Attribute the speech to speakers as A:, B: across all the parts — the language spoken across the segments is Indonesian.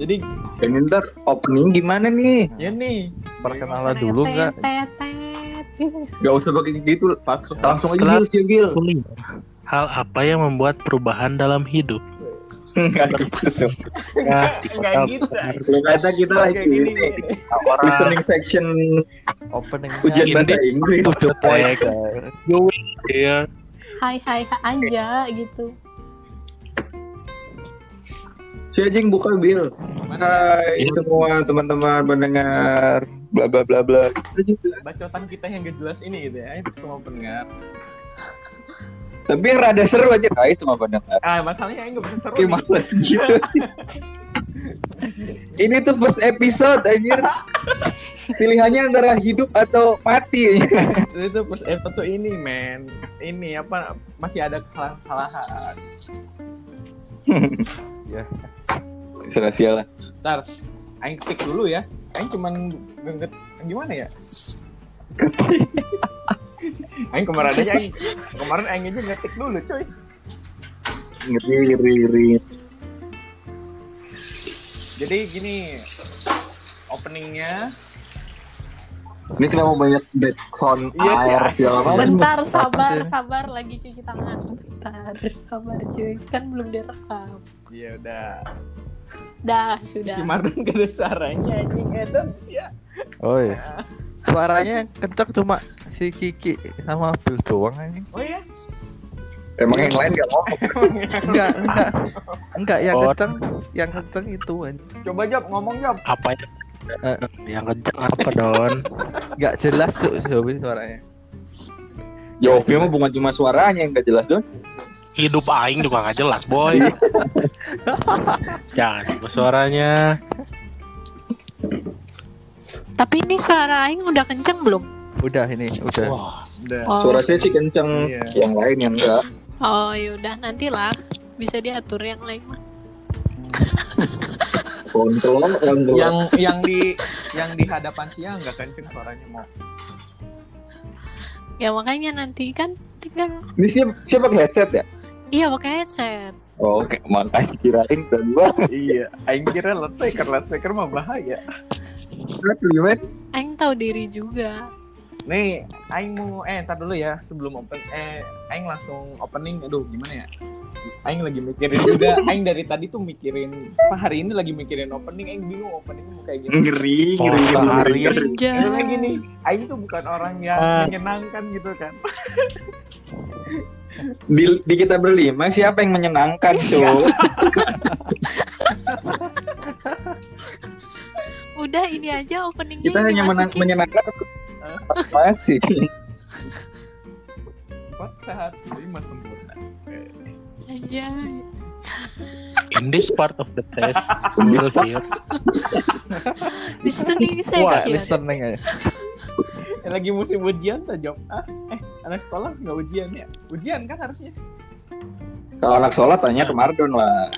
A: Jadi
B: Ini ntar opening gimana nih?
A: ya nih
C: Perkenalan
D: Kayak
C: dulu nggak?
D: tet, tet, gitu.
B: Gak usah pakai gitu, langsung, langsung aja
E: Setelah-
B: Gil, Gil, Gil.
E: Kuliah. Hal apa yang membuat perubahan dalam hidup?
B: Enggak gitu. dong.
E: Nah,
A: Enggak gitu.
B: Ternyata kita lagi
A: Kayak gini.
B: ini listening section
C: Openingnya
B: ujian
E: Ini-
B: bahasa Inggris.
C: to the point.
E: going there.
D: Hai hai hai aja gitu.
B: Si Ajeng buka Bill. Hai
E: Iya.
B: semua teman-teman pendengar bla bla bla bla.
A: bacotan kita yang gak jelas ini gitu ya. Itu semua pendengar.
B: Tapi yang rada seru aja Hai semua pendengar.
A: Ah, masalahnya yang gak bisa seru.
B: Oke
A: nih.
B: males gitu. Ini tuh first episode anjir. Pilihannya antara hidup atau mati.
A: itu first episode tuh ini, men. Ini apa masih ada kesalahan-kesalahan.
B: Serasial lah.
A: Ntar aing ketik dulu ya. Aing cuman genget gimana ya? aing kemarin aja aing, kemarin aing aja ngetik dulu, cuy.
B: Ngeri ngeri ngeri.
A: Jadi gini openingnya
B: Ini kita mau banyak background
A: Iya sih,
B: air segala macam.
D: Bentar sabar sabar lagi cuci tangan. Bentar sabar cuy kan belum direkam.
A: ya udah
D: Dah
A: si
D: sudah.
A: Martin gak ada suaranya anjing edan sih ya
C: Oi. Suaranya yang kenceng cuma si Kiki sama Bill Ah, doang anjing.
A: oh ya
B: Emang yang lain gak ngomong.
C: Enggak, enggak. Enggak yang
E: Oh.
C: kenceng, yang kenceng itu anjing.
A: coba jawab ngomong jawab
E: Apa yang
C: Eh.
E: yang kenceng apa Don?
C: Enggak jelas su Sobi suaranya.
B: Jawabnya Ya, mah bukan cuma suaranya yang gak jelas Don.
E: Hidup aing juga nggak jelas boy. Jangan tipe suaranya.
D: Tapi ini suara aing udah kenceng belum?
C: Udah ini, udah.
E: Wah,
A: udah
D: Oh.
B: Suara saya sih kenceng,
A: Iya.
B: yang lain yang enggak.
D: Oh yaudah nantilah bisa diatur yang lain mah.
B: Kontrol, kontrol.
A: yang yang di yang di hadapan siang nggak kenceng suaranya mau
D: Ya makanya nanti kan tinggal
B: Ini siapa, siapa pakai headset ya?
D: iya pakai headset.
B: Oh, Oke, makanya kirain dan gua
A: iya aing kira loudspeaker loudspeaker mah bahaya
D: Aing tahu diri juga.
A: nih aing mau eh ntar dulu ya sebelum open eh aing langsung opening aduh gimana ya Aing lagi mikirin juga, Aing dari tadi tuh mikirin, Sumpah, hari ini lagi mikirin opening, Aing bingung opening mau kayak gimana.
B: ngeri, ngeri,
E: Oh,
B: ngeri.
E: seharian.
D: Anjay.
A: Karena Iya, gini, Aing tuh bukan orang yang
E: Ah.
A: menyenangkan gitu kan.
B: Di, di kita berlima siapa yang menyenangkan tuh?
D: Udah ini aja openingnya
B: kita hanya menang,
D: dimasukin.
B: menyenangkan masih.
A: Buat sehat, lima sempurna.
D: Anjay.
E: in this part of the test, we will hear
D: Listening
C: Wah,
D: section.
C: listening aja.
A: Eh, Lagi musim ujian tuh, Job. Ah, eh, anak sekolah nggak ujian ya? Ujian kan harusnya.
B: Kalau anak sholat tanya ke Mardon lah.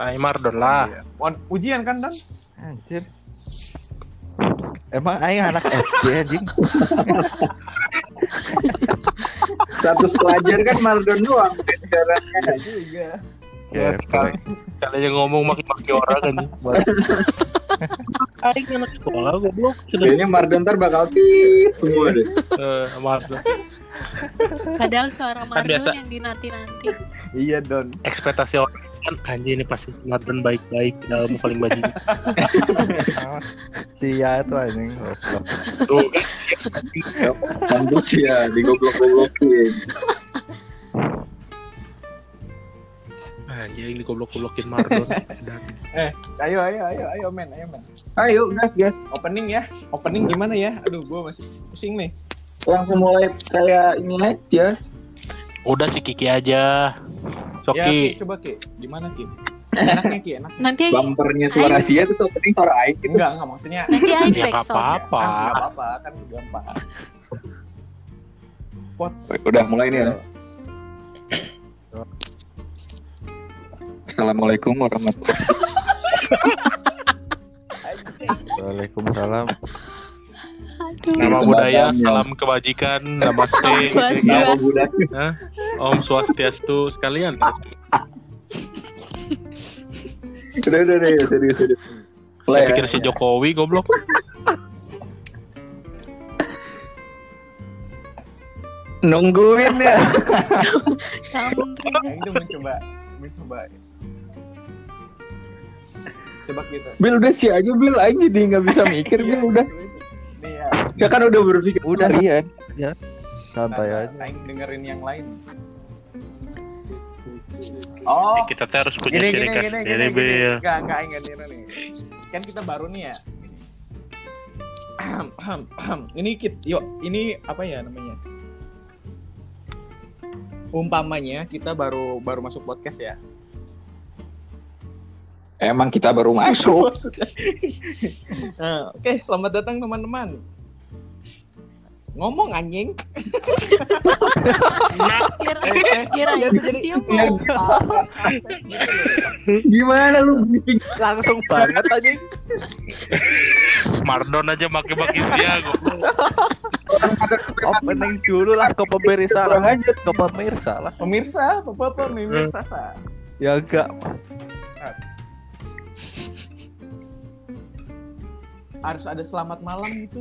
E: Ay, Nah, Mardon lah.
A: Iya. Wan- Ujian kan, Dan?
C: Anjir. Emang aing anak SD anjing.
B: Status pelajar kan Mardon doang. Sekarang
A: Iya juga.
C: Ya,
E: Sekarang Kali aja ngomong maki-maki orang kan. Aing anak sekolah goblok. Sudah
B: kayaknya Mardon ntar bakal tit semua deh.
E: eh, Mardon.
D: Padahal suara Mardon
E: biasa.
D: yang dinanti-nanti.
A: Iya, Don.
E: Ekspektasi orang kan anjing ini pasti Mardon baik-baik dalam paling bajingan.
C: Sia itu anjing.
E: Tuh,
B: Kampus ya, digoblok-goblokin.
E: anjing digoblok-goblokin Mardon. Dan
A: Ayo, ayo, ayo, ayo, men, ayo, men.
B: Ayo, gas, gas.
A: Opening ya. Opening gimana ya? Aduh, gua masih pusing nih.
B: Langsung mulai kayak ini aja.
E: Udah si Kiki aja. Sok
A: Ya, Ki,
E: Ki,
A: coba, Ki. Gimana, Ki? Enaknya, Ki, enak.
D: Nanti
B: Bumpernya suara
D: Aing.
B: Sia tuh opening suara Aing gitu.
A: Enggak, enggak. Maksudnya,
D: nanti aing
E: ya
D: back
E: nggak
D: sound.
E: apa-apa.
A: Ah, nggak apa-apa, kan gampang.
B: Udah mulai nih ya. Assalamualaikum warahmatullahi
C: Waalaikumsalam.
D: Aduh.
E: Nama
B: Gitu,
E: budaya,
B: Madam, ya.
E: salam kebajikan, eh, namaste,
D: Om
B: wabarakatuh.
D: Swastiastu.
E: Hah? Om Swastiastu sekalian.
B: Udah, udah, udah, serius, serius.
E: Saya
B: Play. ya.
E: pikir si Jokowi goblok.
B: Nungguin ya.
D: Sampai.
A: Aing Nah, tuh mencoba mencoba coba gitu
B: Bil udah sih aja Bil aing jadi nggak bisa mikir Bil udah.
A: nih ya
B: Ya kan udah berpikir.
C: Udah sih ya. Santai
A: Nah,
C: aja.
A: Aing dengerin yang lain oh
C: Eh,
E: Kita tuh harus
A: gini
E: punya ciri
A: gini
E: khas
A: gini
E: sendiri,
A: gini gini
E: Bil.
A: enggak enggak enggak gini nih kan kita baru nih ya Ahem, ahem, ahem. ini kit yuk ini apa ya namanya umpamanya kita baru baru masuk podcast ya
B: Emang kita baru masuk.
A: Nah, oke selamat datang teman-teman ngomong anjing
D: Kira
A: Eh, eh,
D: kira
A: jadi-
D: itu
A: jadi-
D: siapa?
B: Gimana lu bikin
C: Langsung banget aja.
E: Mardon aja maki-maki dia goblok.
C: Opening dulu lah ke pemirsa lah.
B: aja?
C: Ke pemirsa lah.
A: pemirsa bapak pemirsa sa
C: Ya enggak.
A: harus ada selamat malam gitu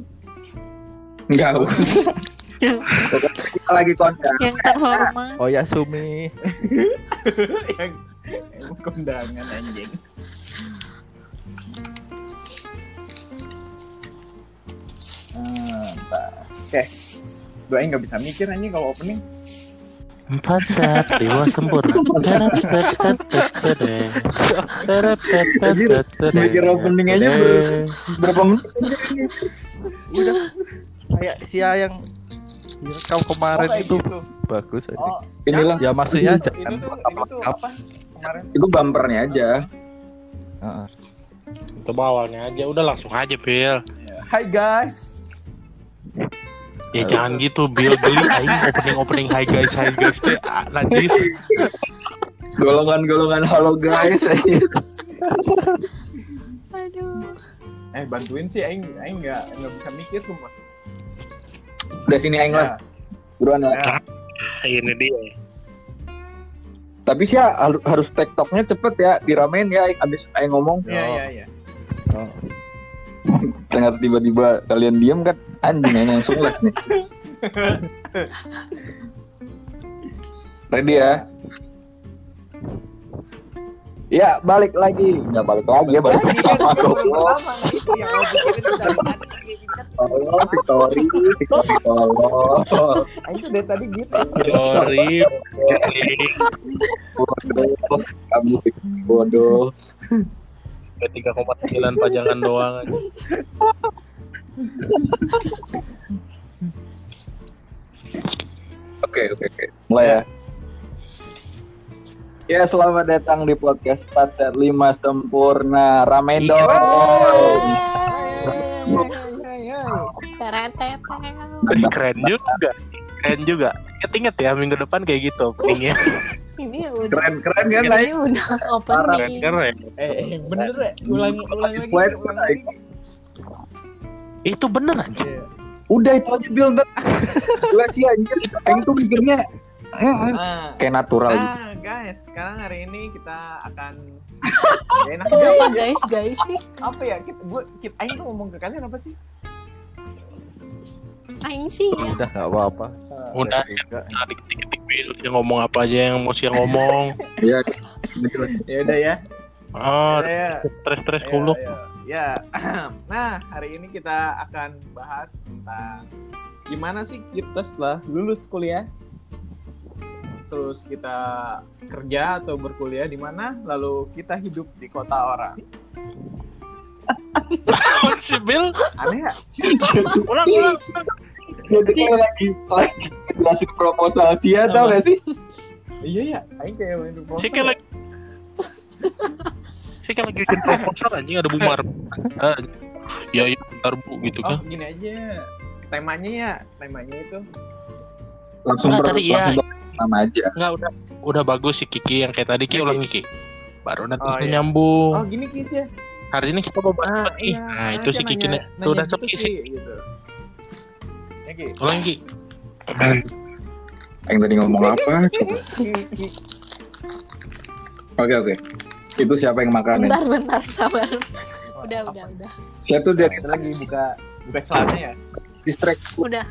B: Enggak.
A: eh,
B: Kita lagi kontak.
D: Yang terhormat.
C: Oh ya Sumi.
A: yang yang kondangan anjing Hmm, entah. Oke, gue nggak bisa mikir anjing kalau opening.
E: Empat saat dewa sempurna.
B: mikir opening aja,
C: Eh.
B: Bro. Berapa menit?
C: Kayak Sia yang kau kemarin
A: kayak
C: itu
A: gitu.
C: bagus aja.
A: Oh,
B: Inilah
C: Ya maksudnya
A: itu, itu tuh, itu
C: jangan
A: tuh
C: lengkap-lengkap.
A: apa? Kemarin
B: itu bumpernya aja.
C: Heeh.
E: Itu awalnya aja udah langsung aja, Bil.
A: Hai guys.
E: Ya jangan gitu, Bil. Beli aing opening-opening hi guys, hi guys teh ah, najis.
B: Golongan-golongan halo guys.
D: Aduh.
A: Eh bantuin sih aing aing enggak enggak bisa mikir tuh. Mas. Nah,
B: Udah sini aing lah. Buruan lah.
E: Ini dia.
B: Tapi sih ya, har- harus TikToknya cepet ya, diramein ya Aing- abis aing ngomong.
A: Iya iya iya.
B: Dengar tiba-tiba kalian diem kan anjing Aing langsung les nih. Ready ya? Ya balik lagi, nggak balik lagi ya balik
A: Ini kan
B: pertama
A: yang
B: goblok.
A: pertama, nah, itu yang aku pikirin dari tadi.
B: Allah, Victory, Victory, Allah.
A: Aing tuh dari tadi gitu.
E: Sorry.
B: Bodoh, kamu bodoh.
E: Tiga koma sembilan pajangan doang. aja.
B: Oke, oke, oke. Mulai ya. Ya, selamat datang di podcast Patet 5 Sempurna.
A: Iya.
B: Ramein dong.
A: Oh. iya,
D: Teretet.
E: Keren juga. Keren juga. Ingat-ingat ya minggu depan kayak gitu openingnya.
D: Ini udah.
B: Keren, keren kan, Nay?
D: Ini udah
E: Keren
D: opening.
E: keren.
A: Eh, eh, bener ya? Ulang ulang lagi.
B: Wait,
A: Ulang lagi.
E: Itu bener anjir.
A: Iya.
B: Udah, itu aja, Bill. Ntar. Gila sih, anjir. Aing tuh mikirnya eh, eh,
A: Ah,
B: kayak natural gitu.
A: ah, guys, sekarang hari ini kita akan Gak enak
D: Kenapa
A: banget.
D: guys guys sih?
A: Apa ya? Kita gua kita aing tuh ngomong ke kalian apa sih?
D: Aing sih ya.
C: Udah enggak apa-apa.
E: Udah,
C: Enggak.
E: Nah, diketik-ketik Bill yang ngomong apa aja yang mau sih yang ngomong.
B: Ya,
A: Ya udah ya.
E: Ah,
A: Udah ya.
E: stres-stres
A: Ya,
E: dulu.
A: ya. Ya. Nah, hari ini kita akan bahas tentang gimana sih kita setelah lulus kuliah terus kita kerja atau berkuliah di mana lalu kita hidup di kota orang iya.
E: Si Bill,
A: aneh ya
E: ulang ulang.
B: jadi kayak lagi lagi jelasin proposal sia tau gak sih?
A: iya ya aing kayak main ya? proposal
E: Si kayak lagi Si kayak lagi bikin proposal anjing ada bumar. Ah, Ya ya bentar Bu gitu
A: oh
E: kan.
A: gini aja temanya ya temanya itu
B: Langsung
A: Oh,
E: Ah,
B: ber-
E: tadi iya.
B: langsung ber- sama aja.
E: Enggak udah udah bagus si Kiki yang kayak tadi Ki ulangi Ki. Baru nanti
A: Oh,
E: saya
A: iya.
E: nyambung.
A: oh gini kis ya
E: Hari ini kita mau bahas apa, Ki?
A: iya,
E: Nah,
A: karena
E: itu
A: saya
E: si Kiki
A: nanya-
E: na-
A: nanya
E: tuh udah
A: gitu,
E: sepi
A: Ki,
E: sih.
A: gitu ya Ki.
E: Ulang Ki.
A: Iya.
B: Aing tadi ngomong apa? Oke, oke. Itu siapa yang makan ya?
D: Bentar, bentar, sabar. Udah, udah, udah.
B: Saya tuh jadi
A: Kita lagi buka buka celana ya.
B: distract
D: Udah,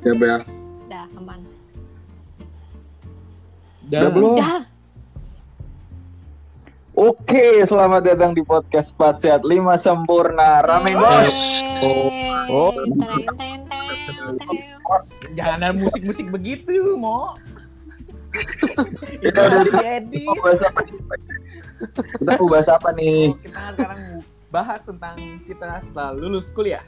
B: ya Bel.
D: udah, aman.
B: Udah belum?
A: Uh,
D: Udah,
B: Oke, selamat datang di podcast 4 Sehat 5 Sempurna. Rame
D: Hmm.
B: banget.
D: Oh,
C: Oh.
A: Jangan ada musik-musik begitu, Mo.
B: Kita udah Oh.
A: Nanti diedit.
B: Kita mau bahas apa nih? Kita mau bahas apa nih?
A: Oh, Kita kan sekarang bahas tentang kita setelah lulus kuliah.